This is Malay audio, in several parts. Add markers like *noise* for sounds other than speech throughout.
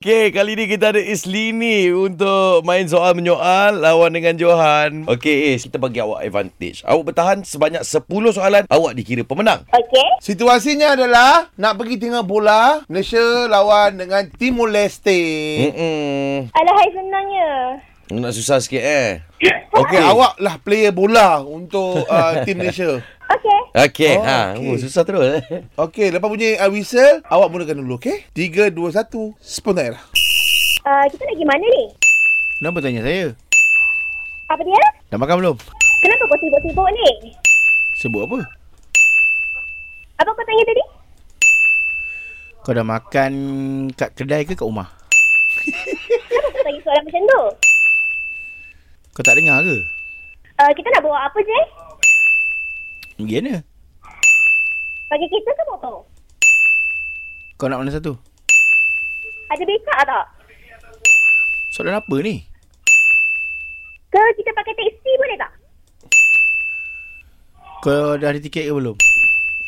Okey, kali ni kita ada Islini untuk main soal menyoal lawan dengan Johan. Okey, Is, kita bagi awak advantage. Awak bertahan sebanyak 10 soalan, awak dikira pemenang. Okey. Situasinya adalah nak pergi tengok bola Malaysia lawan dengan Timor Leste. Hmm, Mm-mm. Alahai senangnya. Nak susah sikit eh. Okey, okay. awak lah player *laughs* bola untuk uh, tim Okey. Malaysia. Okey, Oh, ha, okey. oh, susah terus. eh. Okey, lepas bunyi uh, whistle, awak mulakan dulu, okey? 3 2 1, spoon air. Uh, kita nak pergi mana ni? Kenapa tanya saya? Apa dia? Dah makan belum? Kenapa kau sibuk-sibuk ni? Sebut apa? Apa kau tanya tadi? Kau dah makan kat kedai ke kat rumah? Kenapa kau tanya soalan macam tu? Kau tak dengar ke? Uh, kita nak bawa apa je? Gimana? Pakai kereta ke motor? Kau nak mana satu? Ada becak tak? Soalan apa ni? Ke kita pakai teksi boleh tak? Kau dah ada tiket ke belum?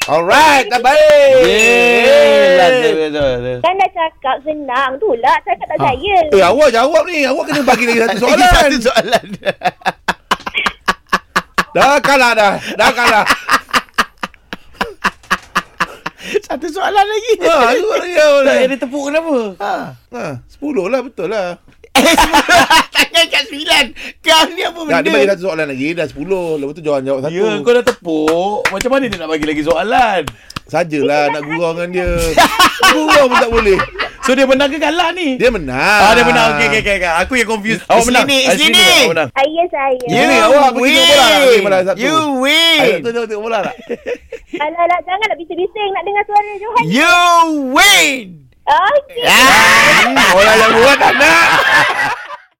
Alright, dah baik. Yeay, last dia kata. Kan dah cakap senang tu lah. Cakap tak Ah. saya. Eh, awak jawab ni. Awak kena bagi lagi satu Lagi *laughs* soalan. Satu soalan. dah kalah dah. Dah *laughs* kalah. satu soalan lagi. ha, itu dia. Tak ada tepuk kenapa? Ha. Ha, 10 lah betul lah. Eh, semua *laughs* tangan kat sembilan. Kau ni apa Dah, benda? dia bagi satu soalan lagi, dah 10. Lepas tu jangan jawab satu. Ya, kau dah tepuk. Macam mana dia nak bagi lagi soalan? Sajalah nak gurau dengan dia. gurau pun tak boleh. So dia menang ke lah kalah ni? Dia menang. Ah, dia menang. Okey, okey, okey. okey. Aku yang confused. Awak menang. Islini, Islini, Islini. awak menang. Ayah saya. Ya. Ini awak pergi tengok bola kat Bukit Merah Sabtu. You Ayah, win. tu tengok tengok bola tak? Alah, alah. Jangan nak bising-bising. Nak dengar Ya. suara Johan. You win. Okey. Ah. Orang yang buat tak nak.